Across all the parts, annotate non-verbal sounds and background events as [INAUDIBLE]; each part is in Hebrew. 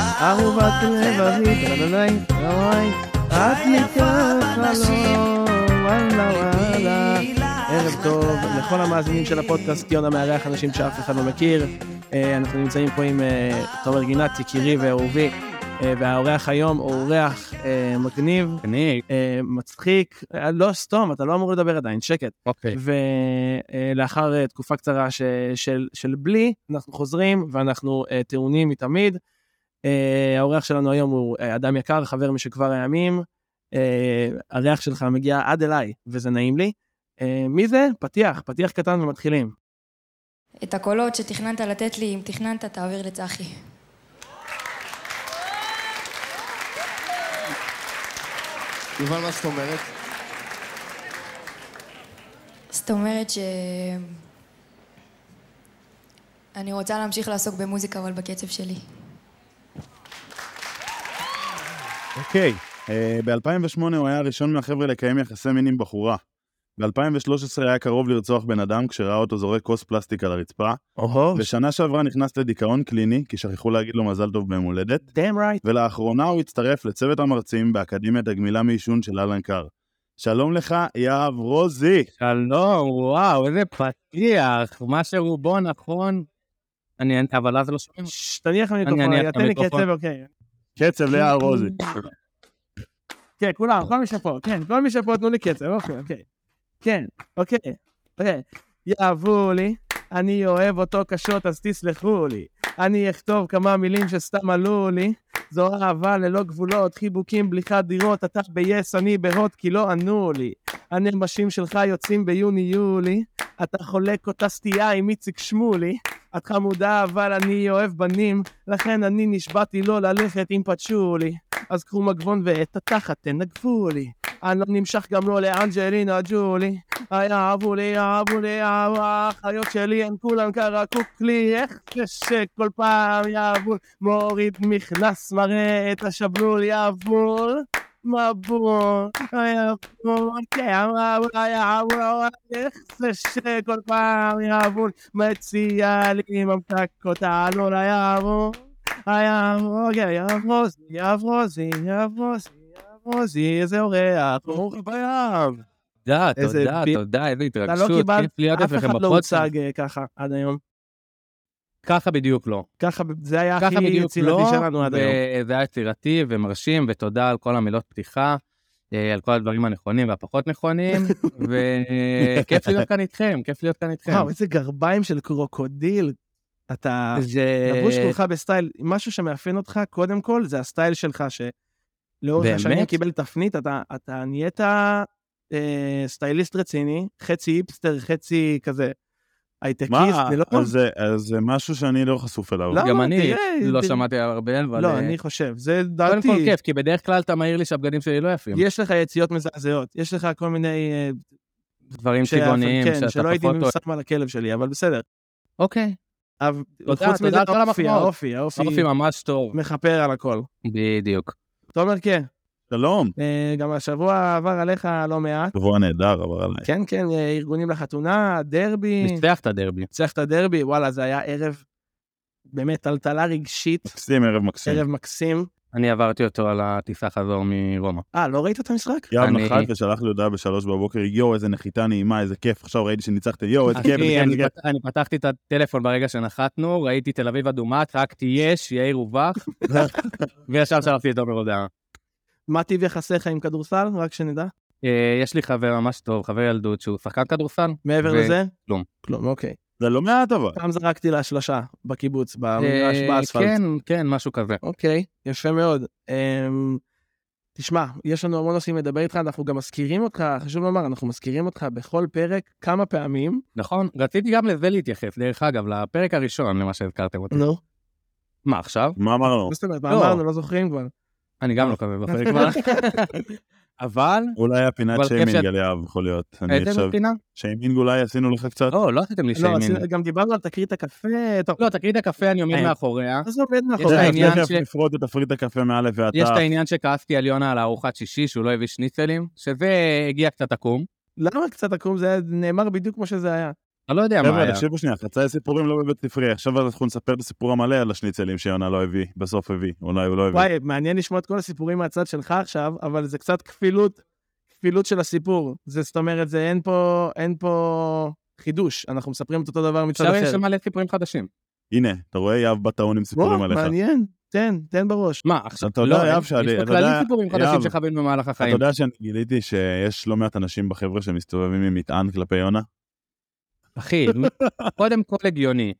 אהובת לבבי, טרדדי, אוי, את מתחלום, וואלה וואלה. ערב טוב לכל המאזינים של הפודקאסט, יונה מארח אנשים שאף אחד לא מכיר. אה, אנחנו נמצאים פה עם אה, תומר גינת, יקירי ואהובי, אה, והאורח היום הוא אורח אה, מגניב, אני, אה, מצחיק, אה, לא סתום, אתה לא אמור לדבר עדיין, שקט. אוקיי. ולאחר אה, תקופה קצרה ש, של, של בלי, אנחנו חוזרים ואנחנו אה, טעונים מתמיד. אה, האורח שלנו היום הוא אה, אדם יקר, חבר משכבר הימים. אה, הריח שלך מגיע עד אליי, וזה נעים לי. אה, מי זה? פתיח, פתיח קטן ומתחילים. את הקולות שתכננת לתת לי, אם תכננת, תעביר לצחי. יובל, מה זאת אומרת? זאת אומרת ש... אני רוצה להמשיך לעסוק במוזיקה, אבל בקצב שלי. אוקיי. ב-2008 הוא היה הראשון מהחבר'ה לקיים יחסי מין עם בחורה. ב-2013 היה קרוב לרצוח בן אדם כשראה אותו זורק כוס פלסטיק על הרצפה. אוהו, בשנה שעברה נכנס לדיכאון קליני, כי שכחו להגיד לו מזל טוב ביום הולדת. damn right. ולאחרונה הוא הצטרף לצוות המרצים באקדמיית הגמילה מעישון של אלן קר. שלום לך, יהב רוזי. שלום, וואו, איזה פתיח. מה שרובו נכון, אני, אבל אז לא שומעים. ש- תניח למיקרופון, אני אניח רגע, תן לי למיקרופון. קצב, אוקיי. קצב ליהב רוזי. כן, כולם, כל מי שפה, כן, כל מי שפה, תנו לי קצב, אוקיי, אוקיי. כן, אוקיי, אוקיי. יאהבו לי, אני אוהב אותו קשות, אז תסלחו לי. אני אכתוב כמה מילים שסתם עלו לי. זו אהבה ללא גבולות, חיבוקים בלי חדירות, אתה ב-yes, אני בהוט, כי לא ענו לי. הנמשים שלך יוצאים ביוני-יולי, אתה חולק אותה סטייה עם איציק שמולי. את חמודה, אבל אני אוהב בנים, לכן אני נשבעתי לא ללכת עם פצ'ולי. אז קחו מגבון ואת התחת תנגבו לי. אני לא נמשך גם לא לאנג'לינה ג'ולי. יאהבו לי, יאהבו לי, יאהבו האחיות שלי, הן כולן קרקוק לי. איך זה שכל פעם יאהבו, מוריד מכנס, מראה את השבלול, יאהבו. מבול, יאהבו, כן, יאהבו, יאהבו, איך זה שכל פעם יאהבו, מציע לי ממתקות, עלו ליאהבו. היה רוגר, יא רוזי, יא רוזי, יא רוזי, יא רוזי, איזה אורח, ברוך הבאים. תודה, איזה תודה, בי- תודה, איזה אתה לא התרגשות. קיבלת, כיף להיות אף אצלכם אחד לא בפודקאסט. הוצג אה, ככה עד היום. ככה בדיוק לא. ככה, זה היה הכי ככה בדיוק יצירתי לא, שלנו עד היום. וזה היה יצירתי ומרשים, ותודה על כל המילות פתיחה, אה, על כל הדברים הנכונים והפחות [LAUGHS] נכונים, וכיף להיות כאן איתכם, כיף להיות כאן איתכם. וואו, איזה גרביים של קרוקודיל. אה, אתה זה... לבוש כולך בסטייל, משהו שמאפיין אותך, קודם כל, זה הסטייל שלך, שלאורך באמת? השנים קיבל תפנית, אתה- אתה נהיית אה, סטייליסט רציני, חצי היפסטר, חצי כזה הייטקיסט, מה? זה לא... אז זה- אז זה משהו שאני לא חשוף אליו. לא, גם לא, אני תראה, לא תראה. שמעתי עליו הרבה, אבל... לא, אה, אני חושב, זה קודם דעתי. כל כיף, כי בדרך כלל אתה מעיר לי שהבגדים שלי לא יפים. יש לך יציאות מזעזעות, יש לך כל מיני... אה, דברים שאף- צבעוניים כן, שאתה שלא הייתי פחות אוהב. שם על הכלב שלי, אבל בסדר. אוקיי. אבל תודה, חוץ תודה מזה, על כל האופי, המחמאות. האופי, האופי אופי ממש טוב. מכפר על הכל. בדיוק. תומר, כן, שלום. אה, גם השבוע עבר עליך לא מעט. שבוע נהדר, אבל עליי. כן, כן, אה, ארגונים לחתונה, דרבי, ניצח את הדרבי. ניצח את הדרבי, וואלה, זה היה ערב באמת טלטלה רגשית, מקסים, ערב כן. מקסים. ערב מקסים. אני עברתי אותו על הטיסה חזור מרומא. אה, לא ראית את המשחק? יואב אני- נחת ושלח לי הודעה בשלוש בבוקר, יואו, איזה נחיתה נעימה, איזה כיף, עכשיו ראיתי שניצחתם, יואו, איזה אחי, כיף, איזה כיף, אני איזה כיף. פת- אני פתחתי את הטלפון ברגע שנחתנו, ראיתי תל אביב אדומה, צעקתי יש, יאיר [LAUGHS] ובך, וישר שלחתי את עומר הודעה. מה טיב יחסיך עם כדורסל? רק שנדע. אה, יש לי חבר ממש טוב, חבר ילדות, שהוא שחקן כדורסל. מעבר ו- לזה? כלום. כלום, אוקיי. זה לא מעט אבל. פעם זרקתי לה שלשה בקיבוץ, במגרש, אה, באספלט. כן, כן, משהו כזה. אוקיי, יפה מאוד. אמ, תשמע, יש לנו המון נושאים לדבר איתך, אנחנו גם מזכירים אותך, חשוב לומר, אנחנו מזכירים אותך בכל פרק כמה פעמים. נכון? רציתי גם לזה להתייחס, דרך אגב, לפרק הראשון, למה שהזכרתם אותי. נו. מה עכשיו? מה אמרנו? זאת אומרת, מה לא. אמרנו, לא זוכרים כבר. אני גם לא כזה בפרק [LAUGHS] כבר. אבל, אולי היה פינת אבל אה, כיף שאת- שיימינג על יהב, יכול להיות. אני איזה עכשיו... פינה? שיימינג אולי עשינו לך קצת? לא, לא עשיתם לי לא, שיימינג. עשינו- גם דיברנו על תקרית הקפה, טוב, לא, תקרית הקפה אני עומד אין. מאחוריה. מה זה עובד יש מאחורי? לה אוקיי, העניין תכף ש- נפרוט את תפריט הקפה מא' ועד יש את ת'. העניין שכעסתי על יונה על הארוחת שישי, שהוא לא הביא שניצלים, שזה הגיע קצת עקום. למה קצת עקום? זה היה- נאמר בדיוק כמו שזה היה. אני לא יודע מה חבר'ה, היה. תקשיבו שנייה, חצאי סיפורים לא בבית ספרי, עכשיו אנחנו נספר את הסיפור המלא על השניצלים שיונה לא הביא, בסוף הביא, אולי הוא לא הביא. וואי, מעניין לשמוע את כל הסיפורים מהצד שלך עכשיו, אבל זה קצת כפילות, כפילות של הסיפור. זה זאת אומרת, זה אין פה, אין פה חידוש, אנחנו מספרים את אותו דבר מצד עכשיו אחר. יש מלא סיפורים חדשים. הנה, אתה רואה יהב בטעון עם סיפורים וואו, עליך. מעניין, תן, תן בראש. מה, עכשיו, אתה יודע, לא, יהב, אין- שאני- יש אתה פה כללים יודע, סיפורים יהב, חדשים שחווינו במהלך אתה החיים. יודע שאני גיליתי שיש לא מעט אנשים בחבר'ה שמסתובבים עם מטען כלפי יונה? [LAUGHS] אחי, קודם כל הגיוני.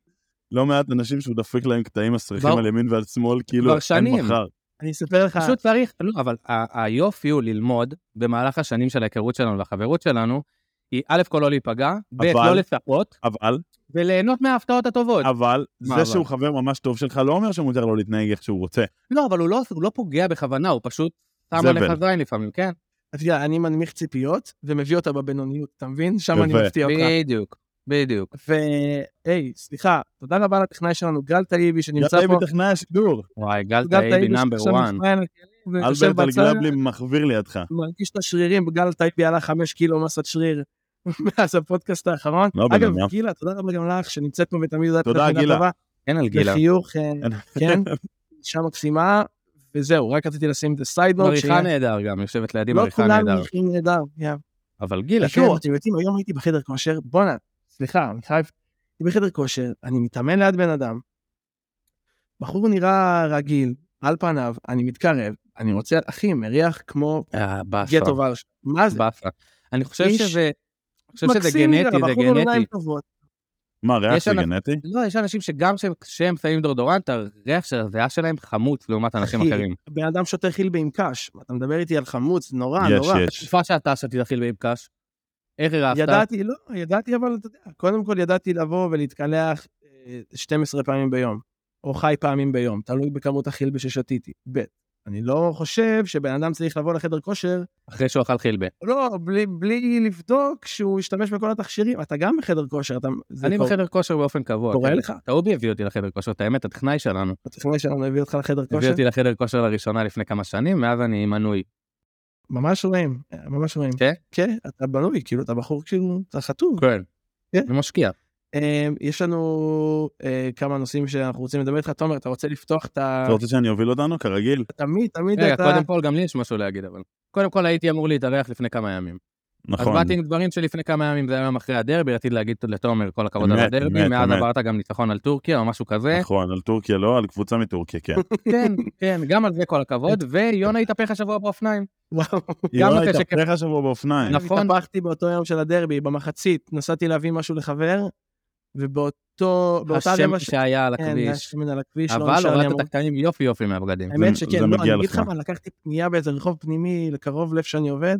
לא מעט אנשים שהוא דפק להם קטעים מסריחים כבר- על ימין ועל שמאל, כאילו כבר אין שנים. מחר. אני אספר אה. לך, פשוט צריך, לא, אבל ה- היופי הוא ללמוד במהלך השנים של ההיכרות שלנו והחברות שלנו, היא א' כל לא להיפגע, ב' אבל- לא לצפות, אבל, וליהנות מההפתעות הטובות. אבל, מה זה אבל? שהוא חבר ממש טוב שלך לא אומר שמותר לו להתנהג איך שהוא רוצה. לא, אבל הוא לא- הוא לא פוגע בכוונה, הוא פשוט שם זבל. עליך זין לפעמים, כן? אתה יודע, אני מנמיך ציפיות ומביא אותה בבינוניות, אתה מבין? שם אני יפה. מפתיע אותך. בדיוק, בדיוק. והי, סליחה, תודה רבה לטכנאי שלנו, גל טליבי, שנמצא יאללה, פה. בטכנאי השידור. וואי, גל גל טעיבי נאמבר שעכשיו וואן. מתראיין על כלים ויושב אלברט בצד, אלגלבלי מחוויר לידך. מרגיש את השרירים, גל טייבי עלה חמש קילו מסת שריר [LAUGHS] מאז הפודקאסט האחרון. לא, בן אגב, אדם. גילה, תודה רבה גם לך, שנמצאת פה ותמיד יודעת תודה, מילה גילה. טובה. כן על גילה. לחיוך, אה, כן, אישה מקסימה, וזהו, רק רציתי לשים את הסיידנוט, מריחה נהדר גם, יושבת לידי לא מריחה כולם נהדר. מריחים נהדר, יא. אבל גילה, כן. תשמעו, אתם יודעים, היום הייתי בחדר כושר, בואנה, סליחה, אני חייב, הייתי בחדר כושר, אני מתאמן ליד בן אדם, בחור נראה רגיל, על פניו, אני מתקרב, אני רוצה, אחי, מריח כמו אה, באסה, גטו ורשה. מה זה? באסה. אני חושב איש שזה... אני חושב שזה מקסים נראה, גנטי, זה בחור עם עיניים גנטי. טובות. [LAUGHS] מה, ריח יש זה אנשים- גנטי? לא, יש אנשים שגם כשהם- כשהם שמים דורדורנט, הריח של הזיעה שלהם חמוץ לעומת אנשים אחי, אחרים. בן אדם שותה חילבי עם קש, אתה מדבר איתי על חמוץ, נורא, יש, אה, נורא. יש. תקופה שאתה שתית אכיל באיב קש, איך הרעפת? ידעתי, לא, ידעתי, אבל אתה יודע, קודם כל ידעתי לבוא ולהתקלח אה, 12 פעמים ביום, או ח"י פעמים ביום, תלוי בכמות החילבי ששתיתי. ב', אני לא חושב שבן אדם צריך לבוא לחדר כושר, אחרי שהוא אכל חילבה. לא, בלי, בלי לבדוק שהוא השתמש בכל התכשירים. אתה גם בחדר כושר, אתה... זה אני קורה- בחדר כושר באופן קבוע. קורה כן. לך? טעובי הביא אותי לחדר כושר, את האמת, הטכנאי שלנו. הטכנאי שלנו הביא אותך לחדר כושר? הביא אותי לחדר כושר לראשונה לפני כמה שנים, מאז אני מנוי. ממש רואים, אה, ממש רואים. כן? כן, אתה בנוי, כאילו, אתה בחור, כאילו, אתה חטוב. כן. כן. ומשקיע. אה, יש לנו אה, כמה נושאים שאנחנו רוצים לדבר איתך. תומר, אתה רוצה לפתוח את ה... אתה רוצה שאני אוביל אותנו? כרגיל. תמיד, תמיד רגע, אתה... קודם כל, גם לי יש משהו להגיד, אבל. קודם כל, הייתי אמור להתארח לפני כמה ימים. אז נכון. באתי עם דברים שלפני כמה ימים, זה היה יום אחרי הדרבי, רציתי להגיד לתומר כל הכבוד על אמת, הדרבי, אמת, מאז אמת. עברת גם ניצחון על טורקיה או משהו [LAUGHS] כזה. נכון, על טורקיה לא, על קבוצה מטורקיה, [LAUGHS] כן. כן, כן, גם על זה כל הכבוד, ויונה התהפך השבוע באופניים. וואו. היא לא אחרי הייתה שכן- פרח השבוע באופניים. [LAUGHS] נכון. התהפכתי באותו יום של הדרבי, במחצית, נסעתי להביא משהו לחבר, ובאותו... באותה השם רבע ש- שהיה על כן, הכביש. השמן על הכביש, לא אבל נשאר לי המון. הורדת את הקטעים יופי יופי מהבגדים. האמת זה- שכן, זה לא, מגיע אני אגיד לך לך. מה, לקחתי פנייה באיזה רחוב פנימי לקרוב לב שאני עובד,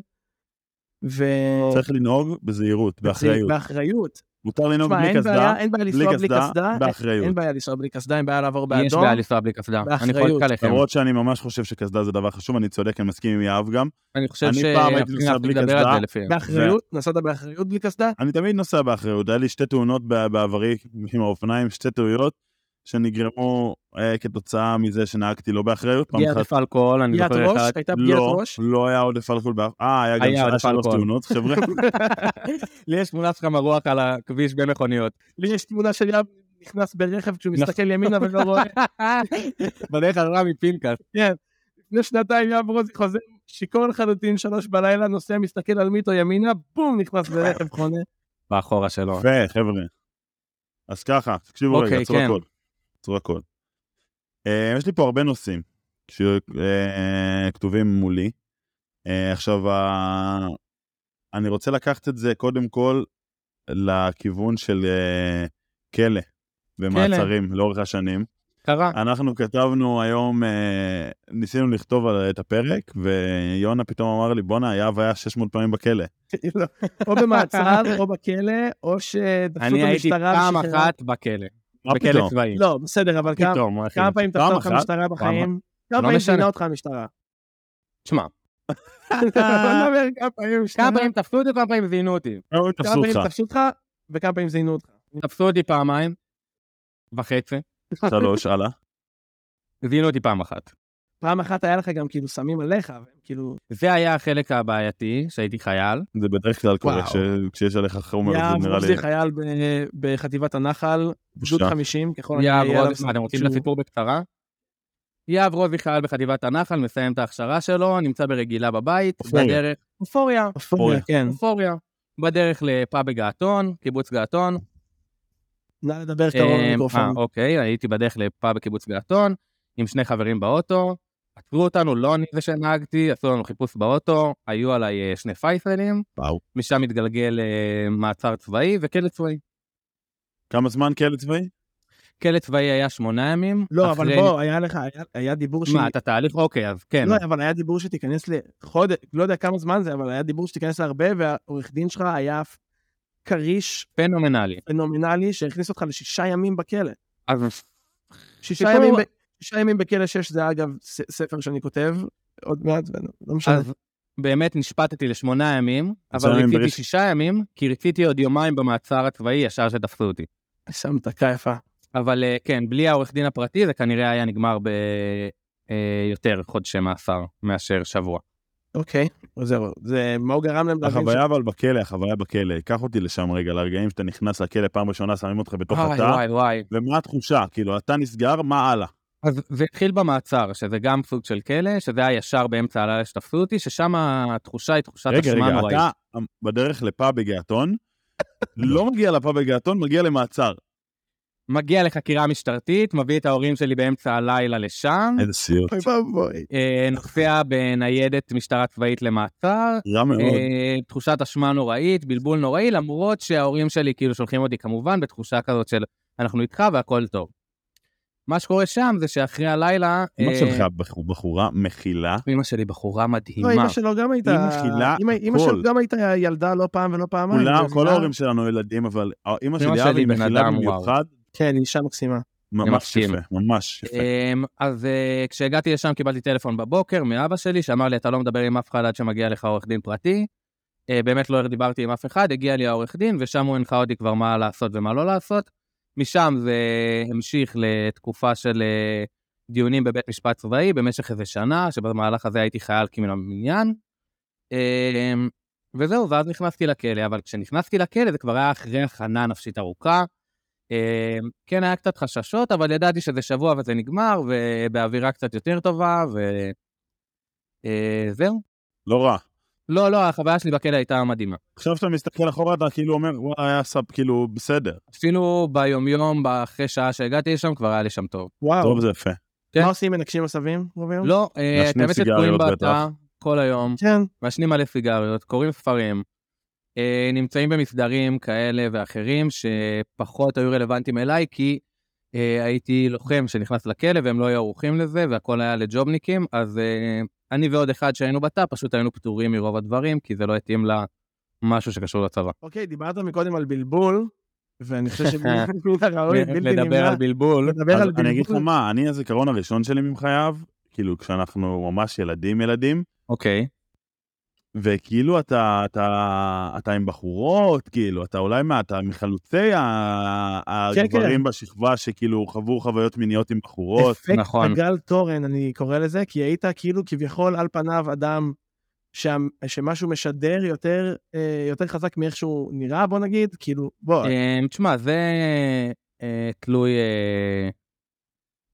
ו... צריך לנהוג בזהירות, באחריות. באחריות. מותר לנהוג תשמע, בלי אין קסדה, בעיה, אין בעיה בלי לנסוע בלי קסדה, קסדה, באחריות. אין בעיה לנסוע בלי קסדה, אין בעיה לעבור יש באדום. בעיה לנסוע בלי קסדה. אני באחריות. חולק עליכם. למרות שאני ממש חושב שקסדה זה דבר חשוב, אני צודק, אני מסכים עם יהב גם. אני חושב אני פעם שאנחנו הייתי צריכים נוסע להפסיק בלי לדבר על קסדה. זה לפי... באחריות? נסעת באחריות בלי קסדה? אני תמיד נוסע באחריות, היה לי שתי תאונות ב- בעברי עם האופניים, שתי טעויות שנגרמו אה, כתוצאה מזה שנהגתי לא באחריות. פעם פגיעת אחת- אלכוהול, אני פגיעת זוכר ראש? אחד. הייתה פגיעת לא, ראש? לא היה עודף אלכוהול באף... אה, היה גם היה שעה עודף שלוש אלכוהול. תאונות, חבר'ה. [LAUGHS] לי יש תמונה שלך מרוח על הכביש בין מכוניות. לי יש תמונה של יאב נכנס ברכב כשהוא נכון. מסתכל ימינה ולא רואה. [LAUGHS] בדרך כלל רמי פינקס. לפני שנתיים יאב רוזי חוזר שיכור לחלוטין, שלוש בלילה, נוסע, מסתכל על מיטו ימינה, בום, נכנס לרכב חונה. באחורה שלו. יפה, חבר'ה. אז ככה, תקשיבו נכון. רגע, אוקיי, עצרו כן. הכל. עצרו הכל. אה, יש לי פה הרבה נושאים שכתובים מולי. אה, עכשיו, ה- אני רוצה לקחת את זה קודם כל לכיוון של אה, כלא ומעצרים לאורך השנים. קרה. אנחנו כתבנו היום, אה, ניסינו לכתוב על- את הפרק, ויונה פתאום אמר לי, בואנה, יהב היה 600 פעמים בכלא. או במעצר, או בכלא, או שתפסו אני את הייתי המשטרה. פעם ושחררו. אחת בכלא. מה בכלא פתאום? צבאי. לא, בסדר, אבל כמה- פתאום, אחי. כמה פעמים פעם תפסה אותך אחת? המשטרה בחיים? כמה לא פעמים משנה. זינה אותך [LAUGHS] המשטרה? תשמע, אתה אומר כמה פעמים המשטרה, כמה פעמים תפסו אותי, כמה פעמים זיינו אותי. אה, כמה תפסו פעמים אותך. תפסו אותך, וכמה פעמים זינו אותך. תפסו אותי פעמיים וחצי, שלוש, הלאה. זיינו אותי פעם אחת. פעם אחת היה לך גם כאילו סמים עליך, והם כאילו... זה היה החלק הבעייתי, שהייתי חייל. זה בדרך כלל קורה, וואו. כש- כשיש עליך חומר, יהב זה נראה רוזי לי חייל ב- בחטיבת הנחל, גדוד בושה. 50, ככל הנראה יהב יהיה עליו רוזי, מה, אתם רוצים שהוא- לסיפור בקצרה? יהב רוזי חייל בחטיבת הנחל, מסיים את ההכשרה שלו, נמצא ברגילה בבית, אופוריה. בדרך... אופוריה, אופוריה, כן. אופוריה. בדרך לפאב בגעתון, קיבוץ געתון. נא לדבר קרוב אה, אה, למיקרופון. אוקיי, הייתי בדרך לפאב בקיבוץ געתון, עם שני חברים באוטו. עצרו אותנו, לא אני זה שנהגתי, עשו לנו חיפוש באוטו, היו עליי אה, שני פייפלים, וואו. משם התגלגל אה, מעצר צבאי וכלא צבאי. כמה זמן כלא צבאי? כלא צבאי היה שמונה ימים. לא, אבל אחרי- בוא, היה לך, היה- היה דיבור שהיא... מה, אתה תהליך? אוקיי, אז כן. לא, אבל היה דיבור שתיכנס לחודש, לא יודע כמה זמן זה, אבל היה דיבור שתיכנס להרבה, והעורך דין שלך היה אף כריש פנומנלי. פנומנלי שהכניס אותך לשישה ימים בכלא. אז שישה סיפור- ימים, ב... שישה ימים בכלא שש זה אגב ס... ספר שאני כותב עוד מעט, ולא- לא משנה. אז באמת נשפטתי לשמונה ימים, אבל ימים רציתי ברצף. שישה ימים, כי רציתי עוד יומיים במעצר הצבאי ישר שתפסו אותי. שם דקה יפה. אבל אה, כן, בלי העורך דין הפרטי זה כנראה היה נגמר אה, ביותר חודשי מאסר מאשר שבוע. אוקיי, אז זהו, זה מה הוא גרם להם להבין ש- החוויה אבל בכלא, החוויה בכלא, קח אותי לשם רגע, לרגעים שאתה נכנס לכלא פעם ראשונה, שמים אותך בתוך וואי, התא, וואי, וואי. ומה התחושה? כאילו, התא נסגר, מה הלאה? אז זה התחיל במעצר, שזה גם סוג של כלא, שזה היה ישר באמצע הלילה שתפסו אותי, ששם התחושה היא תחושת רגע, אשמה רגע, נוראית. אתה אמ, בדרך לפאב בגעתון, לא מגיע לפאב בגעתון, מגיע למעצר. מגיע לחקירה משטרתית, מביא את ההורים שלי באמצע הלילה לשם, איזה סיוט. אוי ואבוי. אה, נוסע בניידת משטרה צבאית למעצר, רע מאוד. אה, תחושת אשמה נוראית, בלבול נוראי, למרות שההורים שלי כאילו שולחים אותי כמובן בתחושה כזאת של אנחנו איתך והכל טוב. מה שקורה שם זה שאחרי הלילה... אמא אה, שלך בחור- בחורה מכילה, אמא שלי בחורה מדהימה. לא, אמא שלו גם הייתה... אמא חילה אמא- אמא הכל. שלו גם הייתה ילדה לא פעם ולא פעמיים. אה? כולם, זה כל היה- ההורים שלנו ילדים, אבל אה, אימא שלי שלי אבי בן מכילה אדם, במיוחד, כן, היא אישה מקסימה. ממש מסכים. יפה, ממש יפה. אמ, אז אה, כשהגעתי לשם קיבלתי טלפון בבוקר מאבא שלי שאמר לי אתה לא מדבר עם אף אחד עד שמגיע לך עורך דין פרטי. אה, באמת לא דיברתי עם אף אחד, הגיע לי העורך דין ושם הוא הנחה אותי כבר מה לעשות ומה לא לעשות. משם זה המשיך לתקופה של אה, דיונים בבית משפט צבאי במשך איזה שנה, שבמהלך הזה הייתי חייל כמן המניין. אמ, וזהו, ואז נכנסתי לכלא, אבל כשנכנסתי לכלא זה כבר היה אחרי הכנה נפשית ארוכה. אה, כן, היה קצת חששות, אבל ידעתי שזה שבוע וזה נגמר, ובאווירה קצת יותר טובה, וזהו. לא רע. לא, לא, החוויה שלי בכלא הייתה מדהימה. עכשיו שאתה מסתכל אחורה, אתה כאילו אומר, וואי, היה סאב, כאילו, בסדר. אפילו ביומיום, אחרי שעה שהגעתי לשם, כבר היה לי שם טוב. וואו. טוב, זה יפה. כן. מה עושים מנגשים עשבים? רוב היום? לא, אה, את מעשנים האמת שתקועים סיגריות בתא כל היום, כן. מעשנים מלא סיגריות, קוראים ספרים, אה, נמצאים במסדרים כאלה ואחרים שפחות היו רלוונטיים אליי, כי אה, הייתי לוחם שנכנס לכלא והם לא היו ערוכים לזה, והכל היה לג'ובניקים, אז אה, אני ועוד אחד שהיינו בתא, פשוט היינו פטורים מרוב הדברים, כי זה לא התאים למשהו שקשור לצבא. אוקיי, דיברת מקודם על בלבול, ואני [LAUGHS] חושב שמן הראוי, בלתי נמנע. לדבר על בלבול. לדבר על אז אני אגיד לך בלבול. מה, אני הזיכרון הראשון שלי ממך יהב, כאילו, כשאנחנו ממש ילדים ילדים, אוקיי. וכאילו אתה, אתה, אתה עם בחורות, כאילו, אתה אולי מה, אתה מחלוצי ה- כן, הגברים בשכבה שכאילו חוו חוויות מיניות עם בחורות. אפקט נכון. הגל תורן, אני קורא לזה, כי היית כאילו כביכול על פניו אדם שם, שמשהו משדר יותר, אה, יותר חזק מאיך שהוא נראה, בוא נגיד, כאילו, נכון. בוא, אה, תשמע, זה אה, תלוי, אה,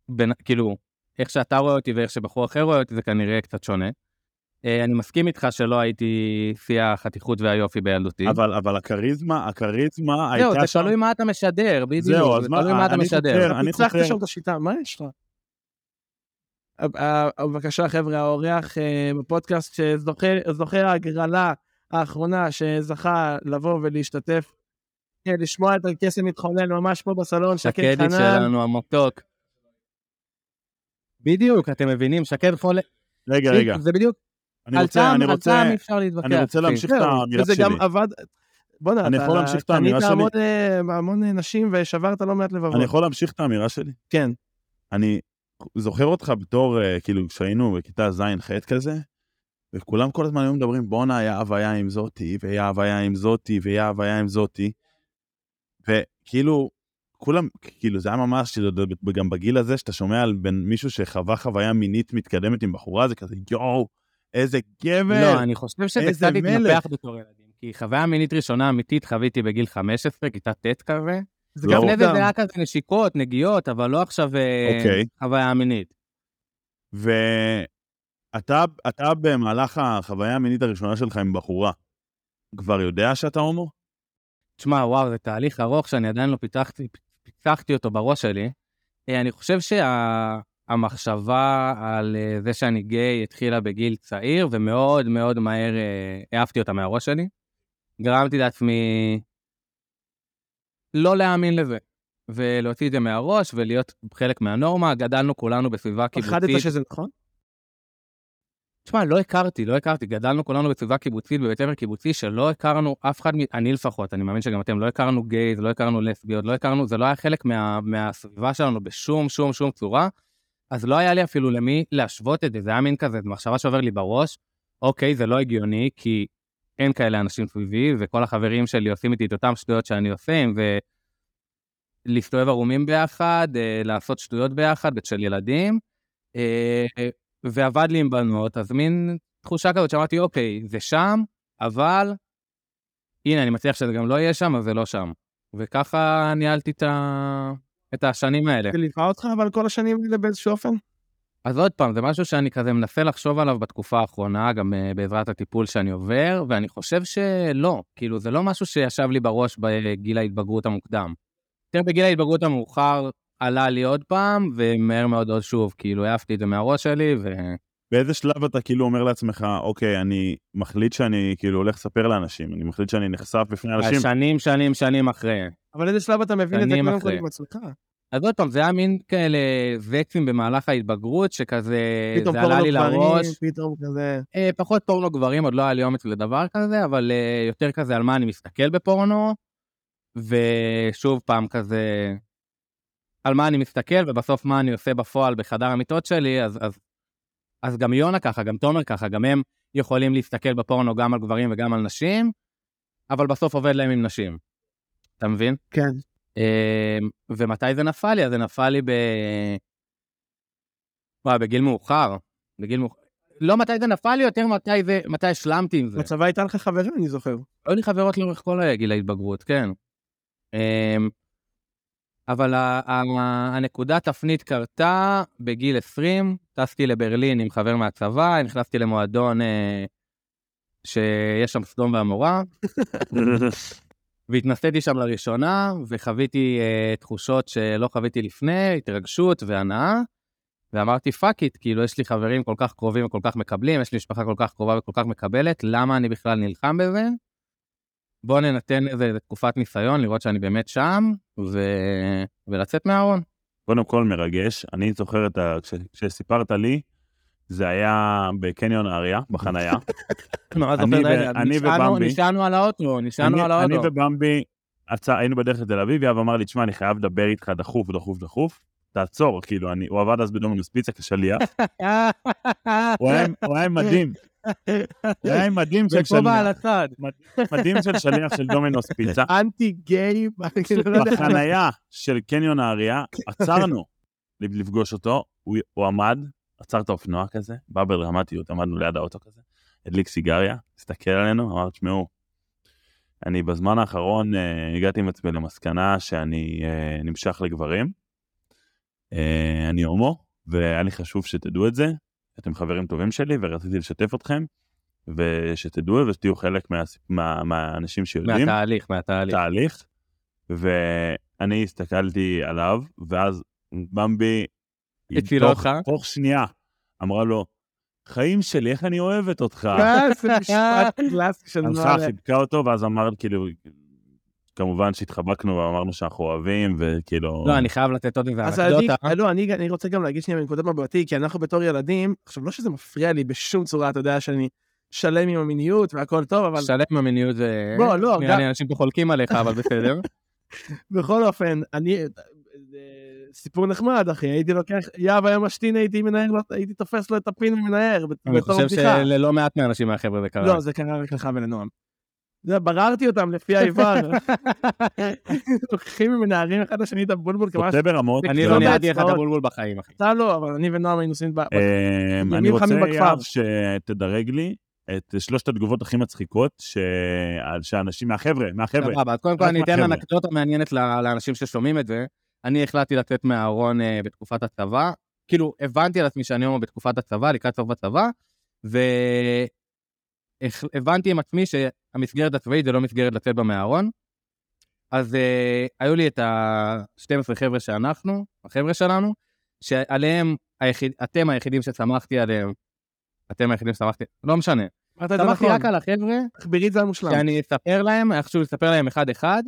בין- כאילו, איך שאתה רואה אותי ואיך שבחור אחר רואה אותי, זה כנראה קצת שונה. אה, אני מסכים איתך שלא הייתי שיא החתיכות והיופי בילדותי. אבל, אבל הכריזמה, הכריזמה הייתה זהו, זה שם... תלוי מה אתה משדר, בדיוק. זהו, אז זה מה- אה, תלוי מה אתה אני חוקר. משדר. אתה אני פיצחת חוקר. שם את השיטה, מה יש לך? אה, אה, בבקשה, חבר'ה, האורח אה, בפודקאסט שזוכה ההגרלה האחרונה שזכה לבוא ולהשתתף, אה, לשמוע את הקסם מתחולל ממש פה בסלון, שקד שקדי חנן. שלנו המתוק. בדיוק, אתם מבינים, שקד חולה. כן, רגע, רגע, זה בדיוק, אני על רוצה, טעם, אני על רוצה, טעם אי אפשר להתווכח. אני רוצה אחי. להמשיך את זהו, האמירה כן, וזה שלי. גם עבד... בוא'נה, אני אתה יכול להמשיך את האמירה קנית שלי? המון, אה, המון אה, נשים ושברת לא מעט לבבות. אני יכול להמשיך את האמירה שלי? כן. אני זוכר אותך בתור, אה, כאילו, כשהיינו בכיתה ז'-ח' כזה, וכולם כל הזמן היו מדברים, בואנה, יהב היה עם זאתי, ויהב היה עם זאתי, ויהב היה עם זאתי. וכאילו, כולם, כאילו, זה היה ממש, גם בגיל הזה, שאתה שומע על בין מישהו שחווה חוויה מינית מתקדמת עם בחורה, זה כזה, יואו, איזה גבר. לא, אני חושב שזה איזה קצת התנפח מלך. בתור ילדים. כי חוויה מינית ראשונה אמיתית חוויתי בגיל 15, כיתה ט' כזה. זה לא. גם לפני זה זה מוקדם. היה כזה נשיקות, נגיעות, אבל לא עכשיו אה, אוקיי. חוויה מינית. ואתה אתה במהלך החוויה המינית הראשונה שלך עם בחורה, כבר יודע שאתה הומו? תשמע, וואו, זה תהליך ארוך שאני עדיין לא פיתחתי, פיתחתי אותו בראש שלי. אה, אני חושב שהמחשבה על אה, זה שאני גיי התחילה בגיל צעיר, ומאוד מאוד מהר אה, העפתי אותה מהראש שלי. גרמתי לעצמי לא להאמין לזה, ולהוציא את זה מהראש ולהיות חלק מהנורמה. גדלנו כולנו בסביבה פחדת קיבוצית. שזה נכון? תשמע, לא הכרתי, לא הכרתי. גדלנו כולנו בסביבה קיבוצית, בבית ספר קיבוצי, שלא הכרנו אף אחד, מ- אני לפחות, אני מאמין שגם אתם, לא הכרנו גייז, לא הכרנו לסביות, לא הכרנו, זה לא היה חלק מה, מהסביבה שלנו בשום, שום, שום צורה. אז לא היה לי אפילו למי להשוות את זה, זה היה מין כזה, זו מחשבה שעובר לי בראש, אוקיי, זה לא הגיוני, כי אין כאלה אנשים סביבי, וכל החברים שלי עושים איתי את אותם שטויות שאני עושה, אם זה להסתובב ערומים ביחד, אה, לעשות שטויות ביחד, אצל ילדים. אה, ועבד לי עם בנות, אז מין תחושה כזאת שאמרתי, אוקיי, זה שם, אבל הנה, אני מצליח שזה גם לא יהיה שם, אז זה לא שם. וככה ניהלתי את, ה... את השנים האלה. זה ליווה אותך אבל כל השנים האלה באיזשהו אופן? אז עוד פעם, זה משהו שאני כזה מנסה לחשוב עליו בתקופה האחרונה, גם אה, בעזרת הטיפול שאני עובר, ואני חושב שלא, כאילו, זה לא משהו שישב לי בראש בגיל ההתבגרות המוקדם. יותר בגיל ההתבגרות המאוחר עלה לי עוד פעם, ומהר מאוד עוד שוב, כאילו, העפתי את זה מהראש שלי, ו... באיזה שלב אתה כאילו אומר לעצמך, אוקיי, אני מחליט שאני כאילו הולך לספר לאנשים, אני מחליט שאני נחשף אה, בפני אנשים, שנים, שנים, שנים אחרי. אבל איזה שלב אתה מבין את זה שנים קודם כל אחרי. עם עצמך? אז עוד פעם, זה היה מין כאלה וקסים במהלך ההתבגרות, שכזה, פתאום לא זה עלה פורנו לי לראש. גברים, פתאום כזה... אה, פחות פורנו גברים, עוד לא היה לי אומץ לדבר כזה, אבל אה, יותר כזה על מה אני מסתכל בפורנו, ושוב פעם כזה, על מה אני מסתכל, ובסוף מה אני עושה בפועל בחדר המיטות שלי, אז, אז, אז גם יונה ככה, גם תומר ככה, גם הם יכולים להסתכל בפורנו גם על גברים וגם על נשים, אבל בסוף עובד להם עם נשים. אתה מבין? כן. אמ, ומתי זה נפל לי? אז זה נפל לי ב... וואי, בגיל מאוחר. בגיל מאוחר. לא מתי זה נפל לי, יותר מתי, זה... מתי השלמתי עם זה. בצבא הייתה לך חברה, אני זוכר. היו לי חברות לאורך כל גיל ההתבגרות, כן. אמ, אבל ה- ה- הנקודה תפנית קרתה בגיל 20, טסתי לברלין עם חבר מהצבא, נכנסתי למועדון אה, שיש שם סדום ועמורה, והתנסיתי שם לראשונה, וחוויתי אה, תחושות שלא חוויתי לפני, התרגשות והנאה, ואמרתי, פאק איט, כאילו, יש לי חברים כל כך קרובים וכל כך מקבלים, יש לי משפחה כל כך קרובה וכל כך מקבלת, למה אני בכלל נלחם בזה? בואו ננתן איזה איזה תקופת ניסיון, לראות שאני באמת שם, ו... ולצאת מהארון. [LAUGHS] קודם כל מרגש. אני זוכר את ה... כש- כשסיפרת לי, זה היה בקניון האריה, בחנייה. אני אני ו- אני ובמבי. נשענו על האוטו, נשענו אני- על אני האוטו. ובמבי עצ- היינו בדרך לתל אביב, יאב אמר לי, תשמע, אני חייב לדבר איתך דחוף, דחוף, דומינוס תעצור, כאילו, אני, הוא עבד אז בדומינוס פיצה כשליח, הוא היה עם- הוא היה עם מדים, הוא היה עם מדים של וכובע על שליח, הצד. מדים של שליח של דומינוס פיצה, אנטי גיי, [LAUGHS] כאילו, לא יודע. בחנייה של קניון האריה, עצרנו ל- לפגוש אותו, הוא, הוא עמד, עצר את האופנוע כזה, בא בדרמטיות, עמדנו ליד האוטו כזה, הדליק סיגריה, הסתכל עלינו, אמר, תשמעו, אני בזמן האחרון אה, הגעתי עם עצמי למסקנה שאני אה, נמשך לגברים, אה, אני הומו, והיה לי חשוב שתדעו את זה, אתם חברים טובים שלי ורציתי לשתף אתכם, ושתדעו ושתהיו חלק מה, מה, מהאנשים שיודעים. מהתהליך, מהתהליך. תהליך, ואני הסתכלתי עליו, ואז במבי, הצילה תוך- אותך? תוך שנייה, אמרה לו, חיים שלי, איך אני אוהבת אותך. אה, זה משפט קלאסי של הלכה, נוער. חיבקה אותו, ואז אמרת, כאילו, כמובן שהתחבקנו ואמרנו שאנחנו אוהבים, וכאילו... לא, אני חייב לתת עוד איזה אז אני, אנקדוטה. אה? לא, אני, אני רוצה גם להגיד שנייה מנקודת מבטי, כי אנחנו בתור ילדים, עכשיו לא שזה מפריע לי בשום צורה, אתה יודע שאני שלם עם המיניות והכל טוב, אבל שלם עם המיניות זה... בוא, לא, נראה גם- לי אנשים פה חולקים עליך, אבל בסדר. [LAUGHS] בכל אופן, אני, אה, זה סיפור נחמד, אחי, הייתי לוקח, יאב היה משתין, הייתי מנער, לו- הייתי תופס לו את הפין ומנער, אני בתור חושב בדיחה. שללא מעט מהאנשים מהחבר'ה זה קרה. לא, זה קרה רק לך ולנועם. זה, בררתי אותם לפי [LAUGHS] האיבר. לוקחים ומנערים אחד לשני את הבולבול כמה ש... חוטא ברמות. כאילו, אני לא לא ניעדתי לך את באצבעות. הבולבול בחיים, אחי. אתה לא, אבל אני ונועם היינו עושים... ב- אה, אמ, ימים אני רוצה, חמים בכפר. יאב, שתדרג לי את שלושת התגובות הכי מצחיקות ש- על- שאנשים, מהחבר'ה, מהחבר'ה. סבבה, אז קודם כל רק אני אתן מהחבר'ה. אנקדוטה מעניינת ל- לאנשים ששומעים את זה. אני החלטתי לצאת מהארון אה, בתקופת הצבא. כאילו, הבנתי על עצמי שאני הומו בתקופת הצבא, לקראת סוף הצבא, והבנתי עם עצמי שהמסגרת הצבאית זה לא מסגרת לצאת בה מהארון. אז אה, היו לי את ה-12 חבר'ה שאנחנו, החבר'ה שלנו, שעליהם, היחיד, אתם היחידים שצמחתי עליהם, אתם היחידים שצמחתי, לא משנה. אמרת את זה צמחתי נכון, רק על החבר'ה תחבירית זה המושלם. שאני אספר להם, איכשהו לספר להם אחד-אחד,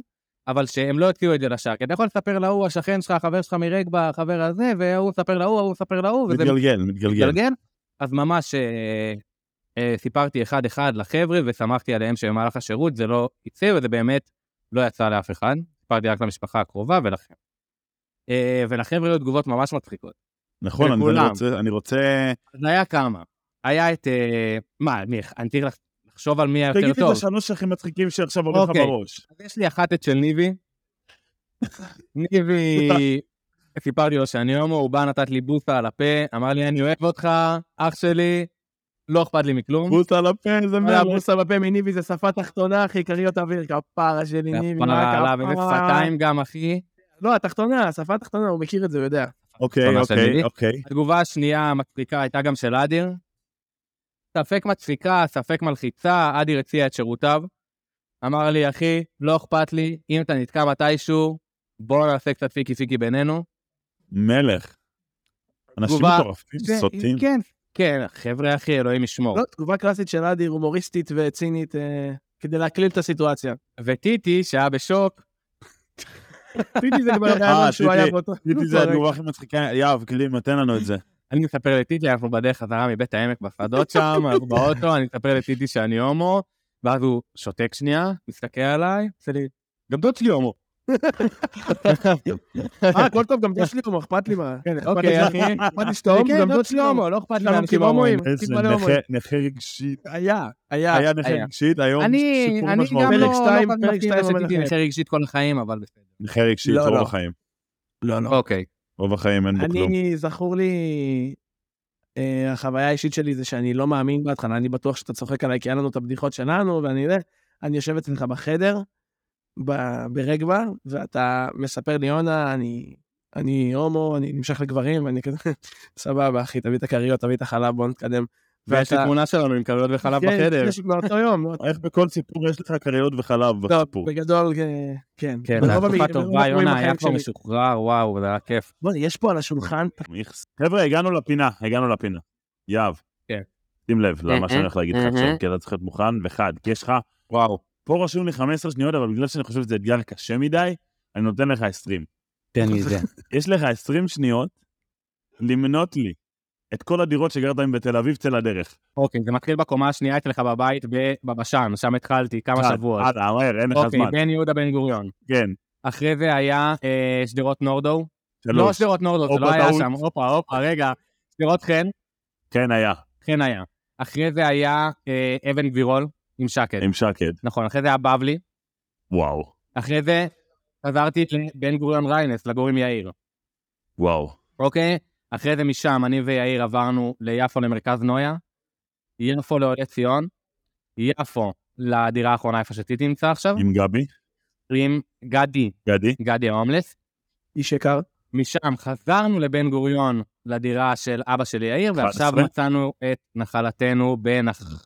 אבל שהם לא יוציאו את זה לשער. כי אתה יכול לספר להוא, השכן שלך, החבר שלך מרגבה, החבר הזה, והוא מספר להוא, ההוא מספר להוא, וזה מתגלגל, מתגלגל. מתגלגל. אז ממש אה, אה, סיפרתי אחד-אחד לחבר'ה, ושמחתי עליהם שבמהלך השירות זה לא יצא, וזה באמת לא יצא לאף אחד. סיפרתי רק למשפחה הקרובה ולכם. אה, ולחבר'ה היו תגובות ממש מצחיקות. נכון, אני- לכולם. אני רוצה- אני רוצה... אז היה כמה. היה את... אה, מה, מי, אני צריך לח- לחשוב על מי היותר תגיד לי אוקיי, טוב. את השלוש הכי מצחיקים שעכשיו עוברים לך אוקיי. בראש. אז יש לי אחת את של ניבי. ניבי, סיפרתי לו שאני הומו, הוא בא, נתת לי בוסה על הפה, אמר לי, אני אוהב אותך, אח שלי, לא אכפת לי מכלום. בוס על הפה, אה, איזה וואלה, מלך. הבוסה בפה מניבי זה שפה תחתונה, אחי, כריות אוויר, כפרה שלי, ניבי, מה כפרה עליו, איזה כפרה? שפתיים גם, אחי. לא, התחתונה, שפה התחתונה, הוא מכיר את זה, הוא יודע. אוקיי, ממש אוקיי, אמיתי. אוקיי. התגובה השנייה המצחיקה הייתה גם של אדיר. ספק מצחיקה, ספק מלחיצה, אדיר הציע את שירותיו. אמר לי, אחי, לא אכפת לי, אם אתה נתקע מתישהו, בוא נעשה קצת פיקי פיקי בינינו. מלך. אנשים תגובה- מטורפים, סוטים. כן, כן, חבר'ה, אחי, אלוהים ישמור. לא, תגובה קלאסית של אדיר, הומוריסטית וצינית, אה, כדי להקליל את הסיטואציה. וטיטי, שהיה בשוק, טיטי זה כבר היה אה, משהו היה טיטי- באותו... טיטי זה באותו רגע. התגובה הכי מצחיקה. יאב, קלימה, תן לנו את זה. אני מספר לטיטי, אנחנו בדרך חזרה מבית העמק בשדות שם, אנחנו באוטו, אני מספר לטיטי שאני הומו, ואז הוא שותק שנייה, מסתכל עליי, עושה לי, גם דוד שלי הומו. אה, הכל טוב, גם דוד שלי הומו, אכפת לי מה. כן, אכפת לי אוקיי, [LAUGHS] אחי. אכפת לי שאתה הומו, כן, גם דוד דוד שלי הומו. לא אכפת יש לנו כאילו הומואים. איזה מלא הומואים. נכה- נכה רגשית. היה, היה. היה נכה היה. רגשית, היום אני, שיפור אני משמעותי. גם לא, פרק שתיים, לא פרק שתיים אומר שתיתי לכם. נכה רגשית כל החיים, אבל בסדר. נכה רגשית, לא, לא. רוב החיים. לא, לא. אוקיי. רוב החיים אין בו כלום. אני, זכור לי, אה, החוויה האישית שלי זה שאני לא מאמין בהתחלה, אני בטוח שאתה צוחק עליי כי היה לנו את הבדיחות שלנו, ואני יודע, אני יושב אצלך בחדר, ב- ברגבה, ואתה מספר לי, יונה, אני... אני הומו, אני נמשך לגברים, ואני כזה, [LAUGHS] סבבה, אחי, תביא את הכריות, תביא את החלב, בוא נתקדם. ויש לי ואתה- תמונה שלנו עם כריות וחלב כן, בחדר. יש מאותו יום, מאותו איך בכל סיפור יש לך כריות וחלב טוב, בסיפור? בגדול, אה, כן. כן, ברוב זו המקרים- תקופה ברוב טובה, המקרים יונה בחיים היה כבר שלי. משוחרר, וואו, זה היה כיף. בוא'נה, יש פה על השולחן, אה, איכס. חבר'ה, הגענו לפינה, הגענו לפינה. יאב. כן. שים לב למה אה, שאני הולך להגיד לך אה, עכשיו, אה. כי אתה צריך להיות מוכן, וחד, כי יש לך, וואו. פה רשום לי 15 שניות, אבל בגלל שאני חושב שזה אתגר קשה מדי, אני נותן לך 20. תן לי את זה. יש לך 20 שניות למנות לי את כל הדירות שגרת בהן בתל אביב, צא לדרך. אוקיי, זה מתחיל בקומה השנייה אצלך בבית בבשן, שם התחלתי כמה חד, שבועות. הלאה, אה, מהר, אין לך אוקיי, זמן. בן יהודה בן גוריון. כן, אחרי זה היה אה, שדרות נורדו. לא שלוש. שדרות נורדו, זה הופה, לא היה טעות. שם. הופה, הופה, רגע. שדרות חן, כן, היה, חן היה. אחרי זה היה אה, אבן גבירול עם שקד. עם שקד. נכון, אחרי זה היה בבלי. וואו, אחרי זה חזרתי לבן גוריון ריינס, לגור עם יאיר. וואו. אוקיי? אחרי זה משם, אני ויאיר עברנו ליפו למרכז נויה, יפו לעולי ציון, יפו לדירה האחרונה איפה שטיטי נמצא עכשיו, עם גבי, עם גדי, גדי, גדי ההומלס. איש יקר. משם חזרנו לבן גוריון לדירה של אבא של יאיר, 11. ועכשיו מצאנו את נחלתנו בנח...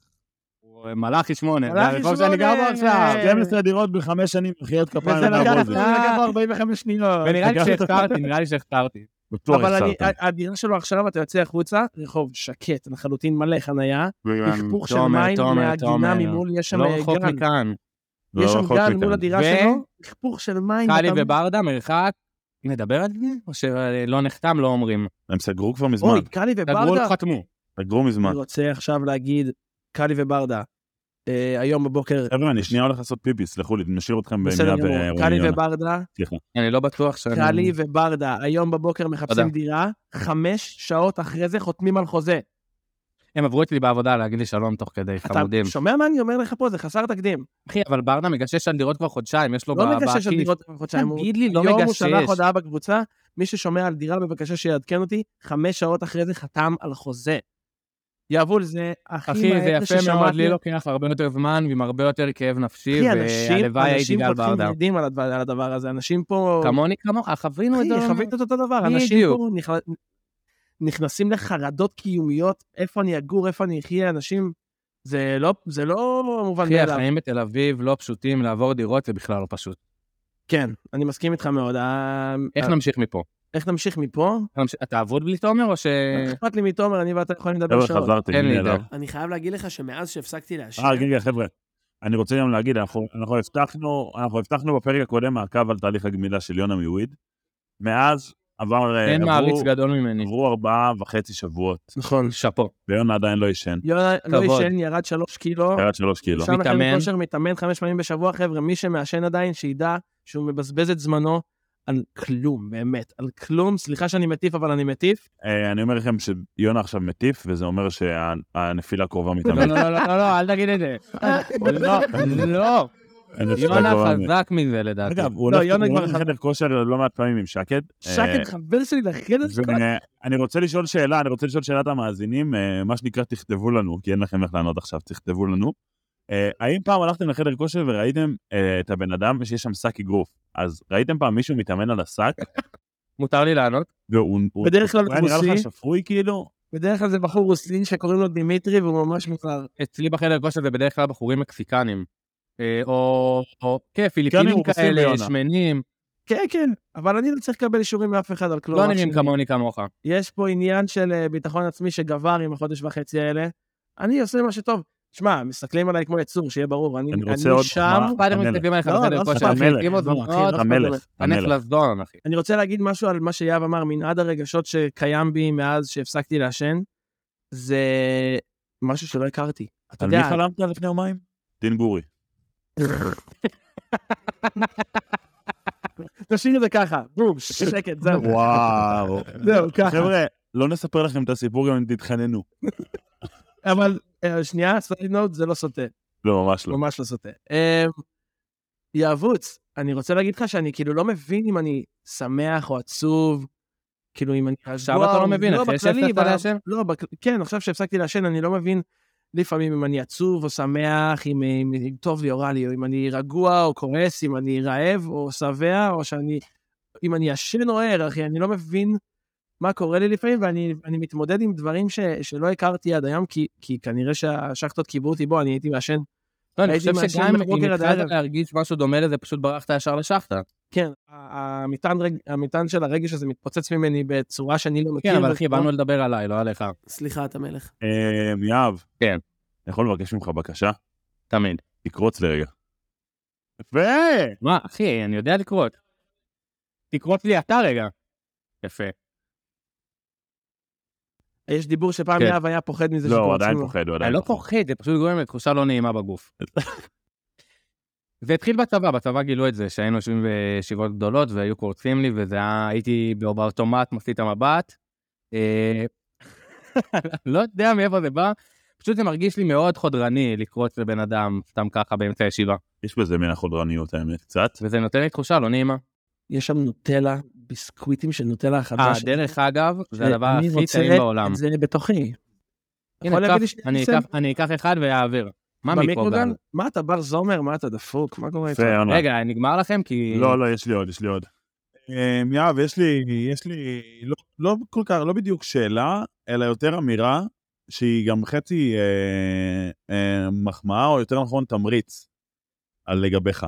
מלאכי שמונה, זה מלאכי הרחוב שאני גר בו שמונה. [LAUGHS] עכשיו. 12 דירות בחמש שנים, מחיאות כפיים. וזה אתה לקח בוז. זה לקח לו 45 שניות. ונראה לי לקחת את שהכתרתי, נראה לי שהכתרתי. בטוח אבל אני- אה, הפסדת. הדירה שלו עכשיו, אתה יוצא החוצה, רחוב שקט, לחלוטין מלא חנייה, כן, היפוך של תומר, מים תומר, מהגינה תומר. ממול, יש [LAUGHS] שם לא אה, רחוק גן. מכאן. לא יש שם רחוק גן מכאן. מול הדירה ו- שלו, היפוך של מים. קאלי כן, אתה- וברדה, מרחק. נדבר על זה? או שלא נחתם, לא אומרים. הם סגרו כבר מזמן, אוי, לא. קאלי דברו, וברדה. חתמו. סגרו מזמן. אני רוצה עכשיו להגיד, קאלי וברדה, אה, היום בבוקר, חבר'ה, אני שנייה הולך לעשות פיפי, סלחו לי, נשאיר אתכם בסדר במילה אה, גמור, קאלי ברעיון. וברדה, אני לא בטוח שאני... קאלי וברדה, היום בבוקר מחפשים תודה. דירה, חמש שעות אחרי זה חותמים על חוזה. הם עברו אצלי בעבודה להגיד לי שלום תוך כדי אתה חמודים. שומע מה אני אומר לך פה? זה חסר תקדים. אחי, אבל ברדה מגשש על דירות כבר חודשיים, יש לו לא ב- מגשש על בכיס. דירות חודשיים. הוא- תגיד לי, לא היום הוא מגשש. שלח הודעה בקבוצה, מי ששומע על דירה בבקשה שיעדכן אותי, חמש שעות אחרי זה חתם על חוזה. יבול, זה הכי אחי, זה מעט יפה מאוד, ששמעתי. לי לוקח הרבה יותר זמן ועם הרבה יותר כאב נפשי, אחי, אנשים, והלוואי הייתי אנשים גל פותחים ברדה. ידים על הדבר- על הדבר הזה, אנשים פה... כמוני כמוך, חווינו את אחי, זה. חווית את אותו דבר, אנשים בדיוק. פה נכ- נכנסים לחרדות קיומיות, איפה אני אגור, איפה אני אחיה, אנשים... זה לא, זה לא מובן אחי, מאליו. החיים בתל אביב לא פשוטים, לעבור דירות זה בכלל לא פשוט. כן, אני מסכים איתך מאוד. אה, איך אה, נמשיך מפה? איך נמשיך מפה? איך נמשיך- אתה אבוד בלי תומר או ש... אכפת לי מתומר, אני ואתה יכולים לדבר חבר'ה, שעות. חזרתם אין לי הנה דעה. אליו. אני חייב להגיד לך שמאז שהפסקתי לעשן, אה, רגע, חבר'ה, אני רוצה גם להגיד, אנחנו אנחנו הבטחנו אנחנו הבטחנו בפרק הקודם מעקב על תהליך הגמילה של יונה מוויד. מאז עבר, אה, אין עברו- מעריץ גדול ממני. עברו ארבעה וחצי שבועות, נכון. שאפו. ויונה עדיין לא ישן, יונה לא כבוד. ישן, ירד שלוש קילו. ירד שלוש קילו. שם לכם מתאמן. כושר מתאמן חמש פעמים בשבוע, חבר'ה. מי שמעשן עדיין, שידע שהוא מבזבז את זמנו על כלום, באמת. על כלום. סליחה שאני מטיף, אבל אני מטיף. אה, אני אומר לכם שיונה עכשיו מטיף, וזה אומר שהנפילה קרובה לא, מתאמן. לא, לא, לא, לא, אל תגיד את זה. לא, לא. הנפילה יונה קרובה מתאמן. חזק מזה לדעתי. אגב, הוא לא, הולך יונה הוא כבר הולך חזק. לחדר כושר לא מעט פעמים עם שקד. אה, שקד חבר שלי לחדר זה- כל- אני רוצה לשאול שאלה, אני רוצה לשאול שאלת המאזינים, אה, מה שנקרא תכתבו לנו, כי אין לכם איך לענות עכשיו, תכתבו לנו. אה, האם פעם הלכתם לחדר כושר וראיתם אה, את הבן אדם שיש שם שק אגרוף? אז ראיתם פעם מישהו מתאמן על השק, מותר לי לענות? והוא הוא- בדרך כלל הוא היה נראה לך רוסי. שפוי כאילו? בדרך כלל זה בחור רוסין שקוראים לו דימיטרי והוא ממש מוכר. אצלי בחדר כושר זה בדרך כלל בחורים מקסיקנים. אה, או, או, כן, פיליפינים רוסים כאלה, ויונה. שמנים, כן, כן, אבל אני לא צריך לקבל אישורים מאף אחד על כלום. לא אח נראים שלי. כמוני כמוך. יש פה עניין של אה, ביטחון עצמי שגבר עם החודש וחצי האלה. אני עושה מה שטוב. שמע, מסתכלים עליי כמו יצור, שיהיה ברור. אני, אני אני רוצה עוד שם, מחמאה. פאדר המלך. מסתכלים עליך לא, בחדר לא כושר, אכפת אחי, לי. עם עוד לא, אחי, לא דמעות, אכפת לי. המלך, תנף המלך. לזדון, אחי. אני רוצה להגיד משהו על מה שיהב אמר, מנעד הרגשות שקיים בי מאז שהפסקתי לעשן, זה משהו שלא הכרתי. אתה על מי יודע, חלמת לפני יומיים? דין גורי. תשאיר את זה ככה, [LAUGHS] בום, שקט, זהו. [LAUGHS] וואו. זהו, ככה. חבר'ה, לא נספר לכם את הסיפור גם אם תתחננו. אבל אה, שנייה, סייד נוט, זה לא סוטה. לא, ממש לא. ממש לא סוטה. אמ, יאבוץ, אני רוצה להגיד לך שאני כאילו לא מבין אם אני שמח או עצוב, כאילו אם אני... עכשיו אתה לא מבין, אחרי בכללי, שהפסקת ב- לעשן? לא, בכ- כן, עכשיו שהפסקתי לעשן, אני לא מבין לפעמים אם אני עצוב או שמח, אם, אם, אם טוב לי או רע לי, או אם אני רגוע או כועס, אם אני רעב או שבע, או שאני... אם אני ישן או ער, אחי, אני לא מבין מה קורה לי לפעמים, ואני אני מתמודד עם דברים ש, שלא הכרתי עד היום, כי, כי כנראה שהשחטות קיבלו אותי בו, אני הייתי מעשן לא, אני הייתי חושב מעשן שגם אם מהבוקר עד התחלת הערב. להרגיש משהו דומה לזה, פשוט ברחת ישר לשחטה. כן, ה- המטען, רג... המטען של הרגש הזה מתפוצץ ממני בצורה שאני לא מכיר. כן, אבל אחי, בצורה- באנו לדבר עליי, לא עליך. סליחה, אתה מלך. אה, יהב. כן. אני יכול לבקש ממך בקשה? תמיד. תקרוץ לרגע. יפה! מה, אחי, אני יודע לקרות. תקרוץ לי אתה רגע. יפה. יש דיבור שפעם כן. יהב היה פוחד מזה לא, הוא שקורצים עדיין לו. פוחד, אני הוא עדיין לא פוחד, זה פשוט גורם לתחושה לא נעימה [LAUGHS] בגוף. זה התחיל בצבא, בצבא גילו את זה, שהיינו יושבים בישיבות גדולות והיו קורצים לי, וזה היה, הייתי בא- באוטומט, מפסיד את המבט. אה, [LAUGHS] לא יודע מאיפה זה בא, פשוט זה מרגיש לי מאוד חודרני לקרוץ לבן אדם סתם ככה באמצע הישיבה, יש בזה מן החודרניות האמת, קצת. וזה נותן לי תחושה לא נעימה. יש שם נוטלה, ביסקוויטים של נוטלה החדש. אה, דרך אגב, זה הדבר שאני הכי רוצה טעים בעולם. את זה בתוכי. הנה, יכול להביא לי קח- שנייה אני ניסן? אקח- אני אקח אחד ואעביר. מה מיקרוגל? מה אתה בר זומר? מה אתה דפוק? מה קורה איתך? יפה, יונה. רגע, נגמר לכם? כי... לא, לא, יש לי עוד, יש לי עוד. אמ, יהב, יש לי, יש לי, לא, לא כל כך, לא בדיוק שאלה, אלא יותר אמירה, שהיא גם חצי אה, אה, מחמאה, או יותר נכון תמריץ, על לגביך.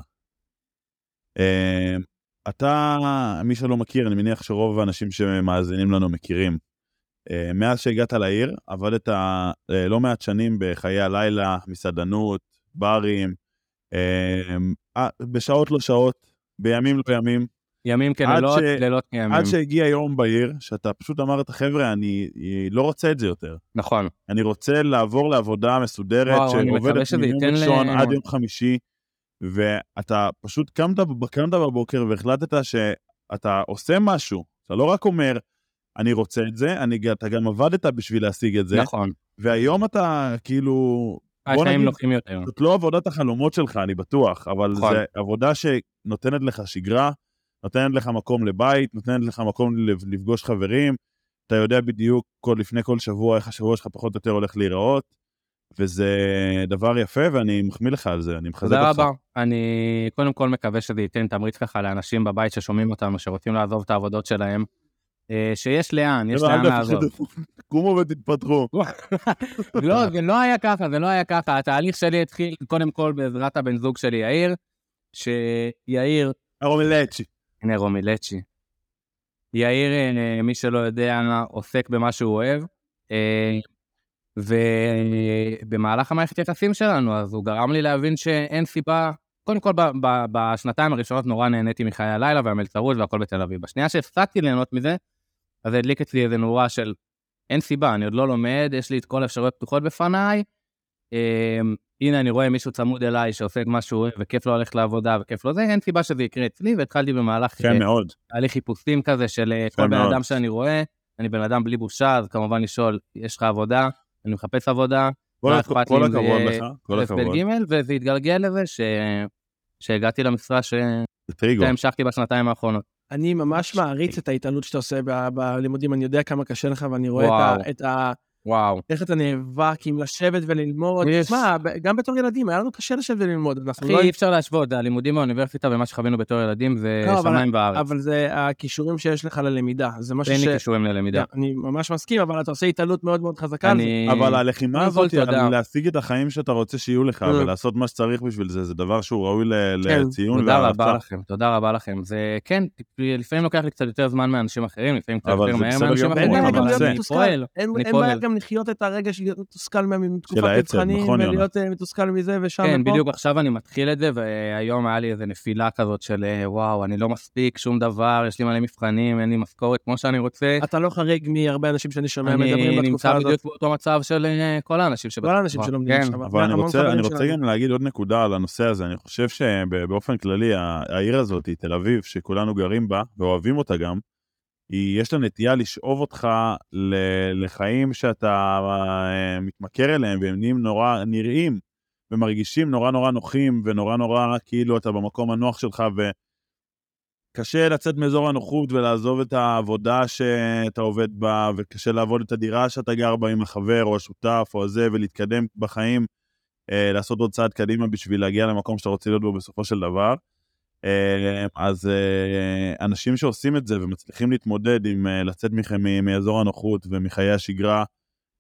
אה, אתה, מי שלא מכיר, אני מניח שרוב האנשים שמאזינים לנו מכירים. אה, מאז שהגעת לעיר, עבדת אה, לא מעט שנים בחיי הלילה, מסעדנות, ברים, אה, בשעות לא שעות, בימים לא ימים, ימים עד כלילות, ש- לילות כימים. עד שהגיע יום בהיר, שאתה פשוט אמרת, חבר'ה, אני אה, לא רוצה את זה יותר. נכון. אני רוצה לעבור לעבודה מסודרת וואו, אני מקווה שעובדת שזה מיום ייתן ראשון ל- עד יום חמישי, ואתה פשוט קמת, קמת בבוקר והחלטת שאתה עושה משהו, אתה לא רק אומר, אני רוצה את זה, אני, ג- אתה גם עבדת בשביל להשיג את זה, נכון. והיום אתה כאילו, החיים נגיד- נוחים אה, יותר. זאת לא עבודת החלומות שלך, אני בטוח, אבל נכון. זו עבודה שנותנת לך שגרה, נותנת לך מקום לבית, נותנת לך מקום לב- לפגוש חברים, אתה יודע בדיוק כל, לפני כל שבוע איך השבוע שלך פחות או יותר הולך להיראות, וזה דבר יפה, ואני מחמיא לך על זה, אני מחזק תודה אותך. רבה. אני קודם כל מקווה שזה ייתן תמריץ ככה לאנשים בבית ששומעים אותנו, שרוצים לעזוב את העבודות שלהם, אה, שיש לאן, יש חבר'ה, אל לאן לעזוב. תפחדו. קומו ותתפתחו. לא, זה לא היה ככה, זה לא היה ככה. התהליך שלי התחיל קודם כל בעזרת הבן זוג שלי, יאיר, שיאיר, הרומלצ'י. הנה רומי לצ'י. יאיר, אה, מי שלא יודע, עוסק במה שהוא אוהב, אה, ובמהלך המערכת יחסים שלנו, אז הוא גרם לי להבין שאין סיבה, קודם כל ב- ב- בשנתיים הראשונות נורא נהניתי מחיי הלילה והמלצרות והכל בתל אביב. בשנייה שהפסקתי ליהנות מזה, אז זה הדליק אצלי איזה נורה של אין סיבה, אני עוד לא לומד, יש לי את כל האפשרויות פתוחות בפניי. אה, הנה, אני רואה מישהו צמוד אליי שעושה את מה שהוא אוהב, וכיף לו ללכת לעבודה, וכיף לו זה, אין סיבה שזה יקרה אצלי, והתחלתי במהלך אה, כן מאוד. תהליך חיפושים כזה של אה, יפה כל בן מאוד. אדם שאני רואה, אני בן אדם בלי בושה, אז כמובן לשאול, יש לך עבודה? אני מחפש עבודה, כל מה הכ- אכפת כל לי אם זה הכבוד יהיה לך, כל א' ב' הכבוד. ג', וזה התגלגל לזה ש... שהגעתי למשרה ש- זה טריגו. שהמשכתי בשנתיים האחרונות. אני ממש מעריץ את ההתעלות שאתה עושה ב- בלימודים, אני יודע כמה קשה לך, ואני רואה את וואו. ה- את ה... וואו. איך אתה נאבק עם לשבת וללמוד. יש. תשמע, ב- גם בתור ילדים, היה לנו קשה לשבת וללמוד, אנחנו אחי, לא... אי אפשר להשוות, הלימודים באוניברסיטה ומה שחווינו בתור ילדים זה לא, אבל- שמיים בארץ. אבל זה הכישורים שיש לך ללמידה, זה משהו אין לי ש... כישורים ללמידה. אני ממש מסכים, אבל אתה עושה התעלות מאוד מאוד חזקה. על זה. אני... אבל הלחימה קודם כל, הזאת, תודה. אה. על להשיג את החיים שאתה רוצה שיהיו לך, Mm. ולעשות מה שצריך בשביל זה, זה דבר שהוא ראוי ל- כן. לציון תודה רבה והערצה. לכם, תודה רבה לכם. זה כן, לפעמים לוקח לי קצת יותר זמן מאנשים אחרים, לפעמים קצת אבל יותר זה מהר בסדר מאנשים גמור, אחרים, אין בעיה גם אבל להיות זה- אני מתוסכל. פועל. אין אני אין בעיה פועל. גם לחיות את הרגע של להיות מתוסכל מה- מתקופת העצב, מבחנים, נכון, יונה. ולהיות אה, מתוסכל מזה ושם כן, ופה. בדיוק עכשיו אני מתחיל את זה, והיום היה לי איזו נפילה כזאת של אה, וואו, אני לא מספיק שום דבר, יש לי מלא מבחנים, אין לי משכורת כמו שאני רוצה. אתה לא חריג מהרבה אנשים שאני שומע אני מדברים בתקופה נמצא הזאת. בדיוק באותו מצב של אה, כל האנשים כל האנשים שלומדים כן, עכשיו. אבל אני המון רוצה, חברים אני שלנו. רוצה גם להגיד עוד נקודה על הנושא הזה. אני חושב שבאופן כללי, ה- העיר הזאת, היא תל אביב, שכולנו גרים בה ואוהבים אותה גם, היא, יש לה נטייה לשאוב אותך ל- לחיים שאתה אה, מתמכר אליהם, והם נהיים נורא נראים ומרגישים נורא נורא נוחים, ונורא נורא כאילו אתה במקום הנוח שלך, וקשה לצאת מאזור הנוחות ולעזוב את העבודה שאתה עובד בה, וקשה לעבוד את הדירה שאתה גר בה עם החבר או השותף או הזה, ולהתקדם בחיים, אה, לעשות עוד צעד קדימה בשביל להגיע למקום שאתה רוצה להיות בו בסופו של דבר. אה, אז אה, אנשים שעושים את זה ומצליחים להתמודד עם אה, לצאת מכם מ- מאזור הנוחות ומחיי השגרה,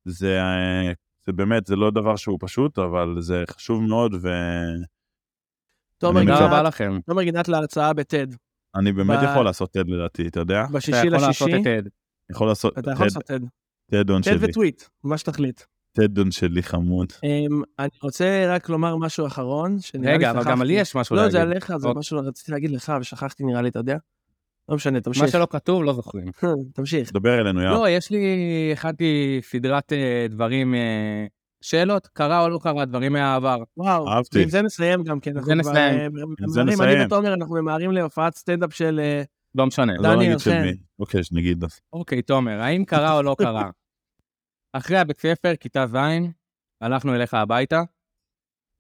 זה, אה, זה באמת, זה לא דבר שהוא פשוט, אבל זה חשוב מאוד, ואני תומר אני תודה רבה גינת- לכם. תומר גינת להרצאה בטד, באמת ב- יכול לעשות TED לדעתי, אתה יודע? אתה בשישי יכול לעשות לשישי. את TED. יכול לעשות אתה יכול TED, לעשות טד. TED-און טד שלי, וטוויט, מה שתחליט. TED-און שלי חמוד. אמ, אני רוצה רק לומר משהו אחרון, שנראה לי רגע, אבל שכחתי. גם לי יש משהו לא, זה להגיד. עליך, זה אוקיי. משהו שרציתי להגיד לך, ושכחתי נראה לי, אתה יודע? לא משנה, תמשיך. מה שלא כתוב, לא זוכרים. [LAUGHS] תמשיך. דבר אלינו, יאללה. לא, יש לי, הכנתי סדרת אה, דברים, אה, שאלות, קרה או לא קרה, דברים מהעבר. וואו. אהבתי. עם זה נסיים גם, כן. אנחנו זה כבר, נסיים. אה, עם זה ממהרים, אני נסיים. ותומר, אנחנו ממהרים להופעת סטנדאפ של... אה, לא משנה. אז לא דניאל, נגיד של כן. מי. אוקיי, שנגיד. אז. אוקיי, תומר, האם קרה או לא קרה? אחרי הבית ספר, כיתה ז', הלכנו אליך הביתה,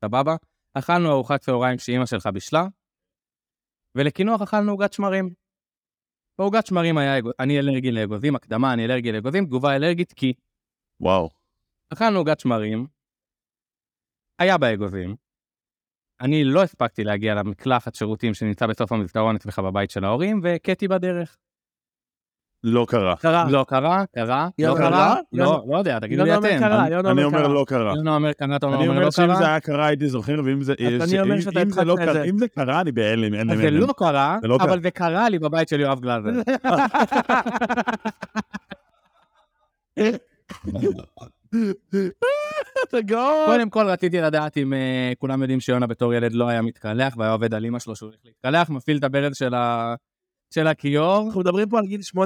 סבבה? אכלנו ארוחת צהריים שאימא שלך בישלה, ולקינוח אכלנו עוגת שמרים. בעוגת שמרים היה, אגו- אני אלרגי לאגוזים, הקדמה, אני אלרגי לאגוזים, תגובה אלרגית כי וואו. אכלנו עוגת שמרים, היה בה אגוזים, אני לא הספקתי להגיע למקלחת שירותים שנמצא בסוף המסדרון אצלך בבית של ההורים, והכיתי בדרך. לא קרה. קרה. לא קרה, קרה, לא יונה, קרה, לא? לא, לא יודע, תגידו לי יונה אומר אתם. קרה, יונה אומר אני אומר קרה. לא קרה. יונה אומר קרה, אתה אני אומר אומר לא שאם קרה, זה היה קרה הייתי זוכר, ואם זה אז אני אומר אם- שאתה אם זה לא התחלת את קרה- זה. אם זה קרה, אני בהלם. אז אין- אין- זה אין- לא קרה, זה לא קרה. אבל זה קרה לי בבית של יואב גלזר. קודם כל רציתי לדעת אם אה, כולם יודעים שיונה בתור ילד לא היה מתקלח והיה עובד על אמא שלו שהוא הולך להתקלח, מפעיל את הברז של ה- של הכיור. אנחנו מדברים פה על גיל 8-9.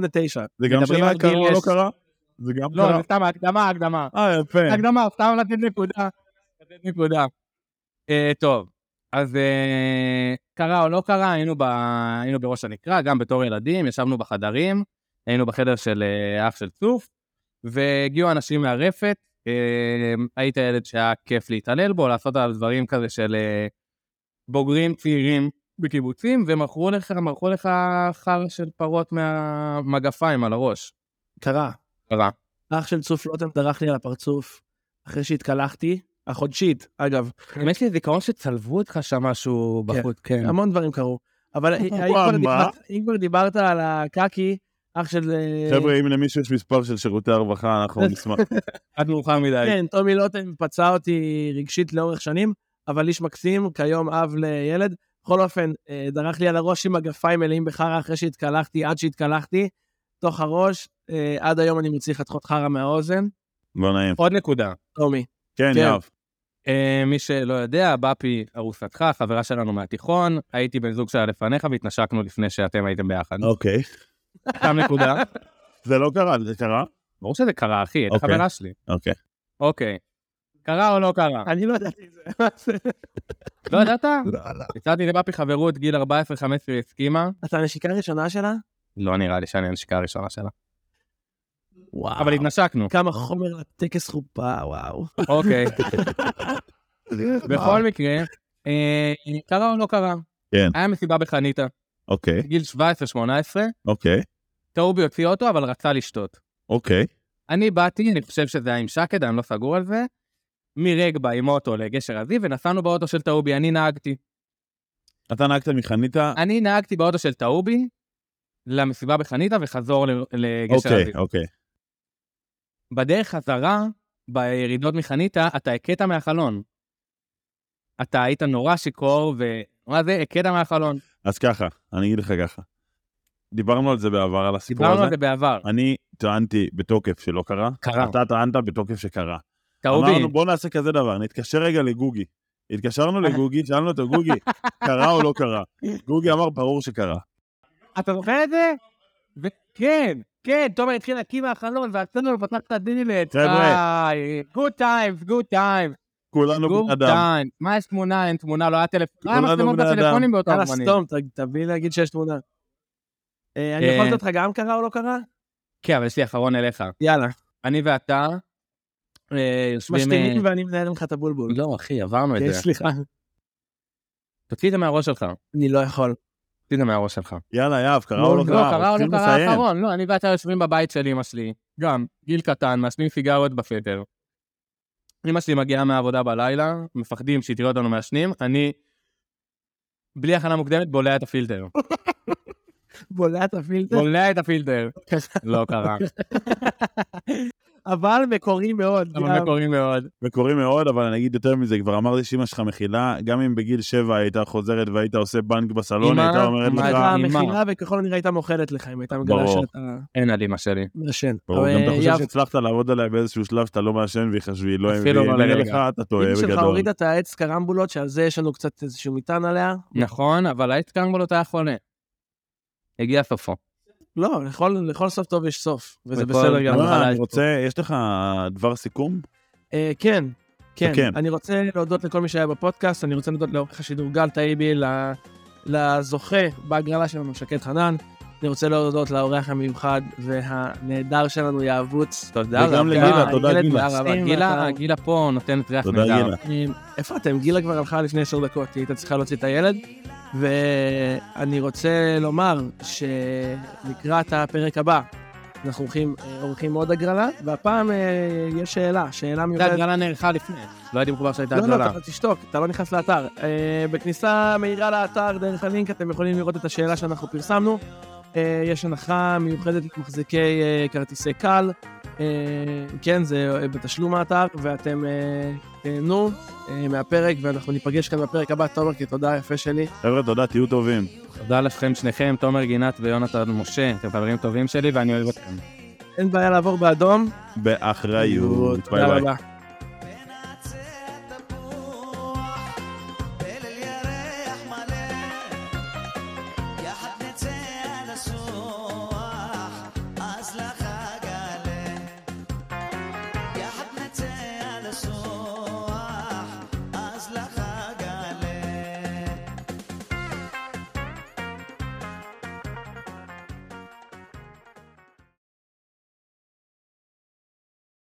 זה גם מדברים שאלה על קרה או גיל לא עשר. קרה? זה גם לא, קרה. זה סתם הקדמה, הקדמה. אה, יפה. הקדמה, לא סתם לתת נקודה. לתת נקודה. אה, טוב, אז אה, קרה או לא קרה, היינו, ב... היינו בראש הנקרה, גם בתור ילדים, ישבנו בחדרים, היינו בחדר של אה, אח של צוף, והגיעו אנשים מהרפת, אה, היית ילד שהיה כיף להתעלל בו, לעשות עליו דברים כזה של אה, בוגרים צעירים בקיבוצים, ומכרו לך, מכרו לך חר של פרות מהמגפיים על הראש. קרה. קרה. אח של צוף לוטם דרך לי על הפרצוף אחרי שהתקלחתי, החודשית, אגב. גם יש לי זיכרון שצלבו אותך שם משהו כן. בחוץ, כן. המון דברים קרו. [LAUGHS] אבל אם כבר וואו, מה? דיברת- אם כבר דיברת על הקקי, אח של... אה, חבר'ה, אם למישהו יש מספר של שירותי הרווחה, אנחנו נשמח. עד מאוחר מדי. כן, טומי לוטם פצע אותי רגשית לאורך שנים, אבל איש מקסים, כיום אב לילד. בכל אופן, אה, דרך לי על הראש עם מגפיים מלאים בחרא אחרי שהתקלחתי, עד שהתקלחתי, תוך הראש, אה, עד היום אני מוציא חתכות חרא מהאוזן. לא [LAUGHS] נעים. עוד נקודה. טומי. כן, כן. יואב. אה, מי שלא יודע, בפי ארוסתך, חברה שלנו מהתיכון, הייתי בן זוג שלה לפניך והתנשקנו לפני שאתם הייתם ביחד. אוקיי. סתם נקודה. זה לא קרה, זה קרה? ברור שזה קרה, אחי, הייתה אוקיי. חברה שלי. אוקיי. אוקיי. קרה או לא [LAUGHS] קרה? אני לא ידעתי את זה, מה זה? לא ידעת? לא, לא. הצעתי לבפי חברות, גיל 14-15 היא הסכימה. אתה הנשיקה הראשונה שלה? לא נראה לי שאני הנשיקה הראשונה שלה. וואו. אבל התנשקנו, כמה חומר לטקס חופ... חופה, וואו. [LAUGHS] אוקיי. בכל מקרה, אה, קרה או לא קרה? כן. היה מסיבה בחניתה, אוקיי, גיל 17-18, אוקיי, טרובי הוציא אותו, אבל רצה לשתות. אוקיי. אני באתי, אני חושב שזה היה עם שקד, אני לא סגור על זה, מרגבה עם אוטו לגשר הזיו, ונסענו באוטו של טאובי, אני נהגתי. אתה נהגת מחניתה? אני נהגתי באוטו של טאובי למסיבה בחניתה וחזור ל- לגשר הזיו. אוקיי, אוקיי. בדרך חזרה, בירידות מחניתה, אתה הכית מהחלון. אתה היית נורא שיכור, ו... מה זה, הכית מהחלון. אז ככה, אני אגיד לך ככה. דיברנו על זה בעבר, על הסיפור דיברנו על הזה. זה בעבר. אני טענתי בתוקף שלא קרה. קרה. אתה טענת בתוקף שקרה. טאובי, אמרנו, בוא נעשה כזה דבר, נתקשר רגע לגוגי. התקשרנו לגוגי, שאלנו אותו, גוגי, קרה או לא קרה? גוגי אמר, ברור שקרה. אתה זוכר את זה? ו- כן, כן, תומר התחיל להקים מהחלון, ועשינו לו פתח את הדילט. חבר'ה. גוד טיימס, גוד טיימס, כולנו בני גוד אדם. טיימס. מה יש תמונה, אין תמונה, לא היה טלפון. לא היה כולנו מצלמות בני אדם. בטלפונים באותם יאללה, זמנים. סתום, ת- תביא להגיד שיש תמונה. אה, אני אה. יכול לתת לך גם קרה או לא קרה? כן, אבל יש לי אחרון אליך. יאללה. אני ואתה אה, יושבים... אה, משתינים ואני מנהל לך את הבולבול. לא, אחי, עברנו את כן, זה. סליחה, תוציא את זה מהראש שלך. אני לא יכול. תוציא את זה מהראש שלך. יאללה, יאב, קרה או לא לא, קרה? קרה או לא רוצים קרה לסיים. האחרון. לא, אני ואתה יושבים בבית של אמא שלי. גם, גיל קטן, מעשנים סיגריות בפטר. אמא שלי מגיעה מהעבודה בלילה, מפחדים שהיא תראה אותנו מעשנים. אני, בלי הכנה מוקדמת, בולע את הפילטר. בולע את הפילטר. בולע את הפילטר. לא [LAUGHS] קרה. אבל מקורי מאוד. אבל גם. מקורים מאוד. מקורי מאוד, אבל אני אגיד יותר מזה, כבר אמרתי שאמא שלך מכילה, גם אם בגיל שבע הייתה חוזרת והיית עושה בנק בסלון, אמא, הייתה אומרת אמא, לך, הייתה מדהימה. מכילה וככל הנראה הייתה מאוכלת לך אם הייתה מגלה ברור. שאתה אין על אמא שלי. מעשן. ברור, גם אתה אה, חושב יאב, שהצלחת לעבוד עליה באיזשהו שלב שאתה לא מעשן והיא חשבי, לא אפילו אם לא נראה לרגע. לך, אתה טועה אמא שלך בגדול. הורידה את העץ קרמבולות, שעל זה יש לנו קצת איזשהו מטען עליה. נכון, אבל היית קרנבולות היה חולה. הגיע סופו. לא, לכל- לכל סוף טוב יש סוף, וזה לכל- בסדר גמור. אבל אה, אני יש פה. רוצה, יש לך דבר סיכום? אה, כן, כן. כן. אני רוצה להודות לכל מי שהיה בפודקאסט, אני רוצה להודות לעורך השידור גל טייבי, ל- לזוכה בהגרלה שלנו, שקד חנן. אני רוצה להודות לאורח המיוחד והנהדר שלנו, יעבוץ. תודה וגם לגילה, תודה, גילה. גילה, גילה פה נותנת ריח תודה, נהדר. גילה. איפה אתם? גילה כבר הלכה לפני עשר דקות, היא הייתה צריכה להוציא את הילד. ואני רוצה לומר שלקראת הפרק הבא, אנחנו הולכים, אה, עורכים עוד הגרלה, והפעם אה, יש שאלה, שאלה הייתה מיוחדת. הגרלה נערכה לפני. לא הייתי מחובר שהייתה לא, לא, הגרלה. אתה תשתוק, אתה לא נכנס לאתר. אה, בכניסה מהירה לאתר, דרך הלינק, אתם יכולים לראות את השאלה שאנחנו פרסמנו. אה, יש הנחה מיוחדת למחזיקי אה, כרטיסי קל. אה, כן, זה אה, בתשלום האתר, ואתם אה, תהנו אה, מהפרק, ואנחנו ניפגש כאן בפרק הבא. תומר, כי תודה יפה שלי. חבר'ה, תודה, תהיו טובים. תודה לכם שניכם, תומר גינת ויונתן משה, אתם חברים טובים שלי ואני אוהב אתכם. אין בעיה לעבור באדום. באחריות. ביי תודה ביי. רבה.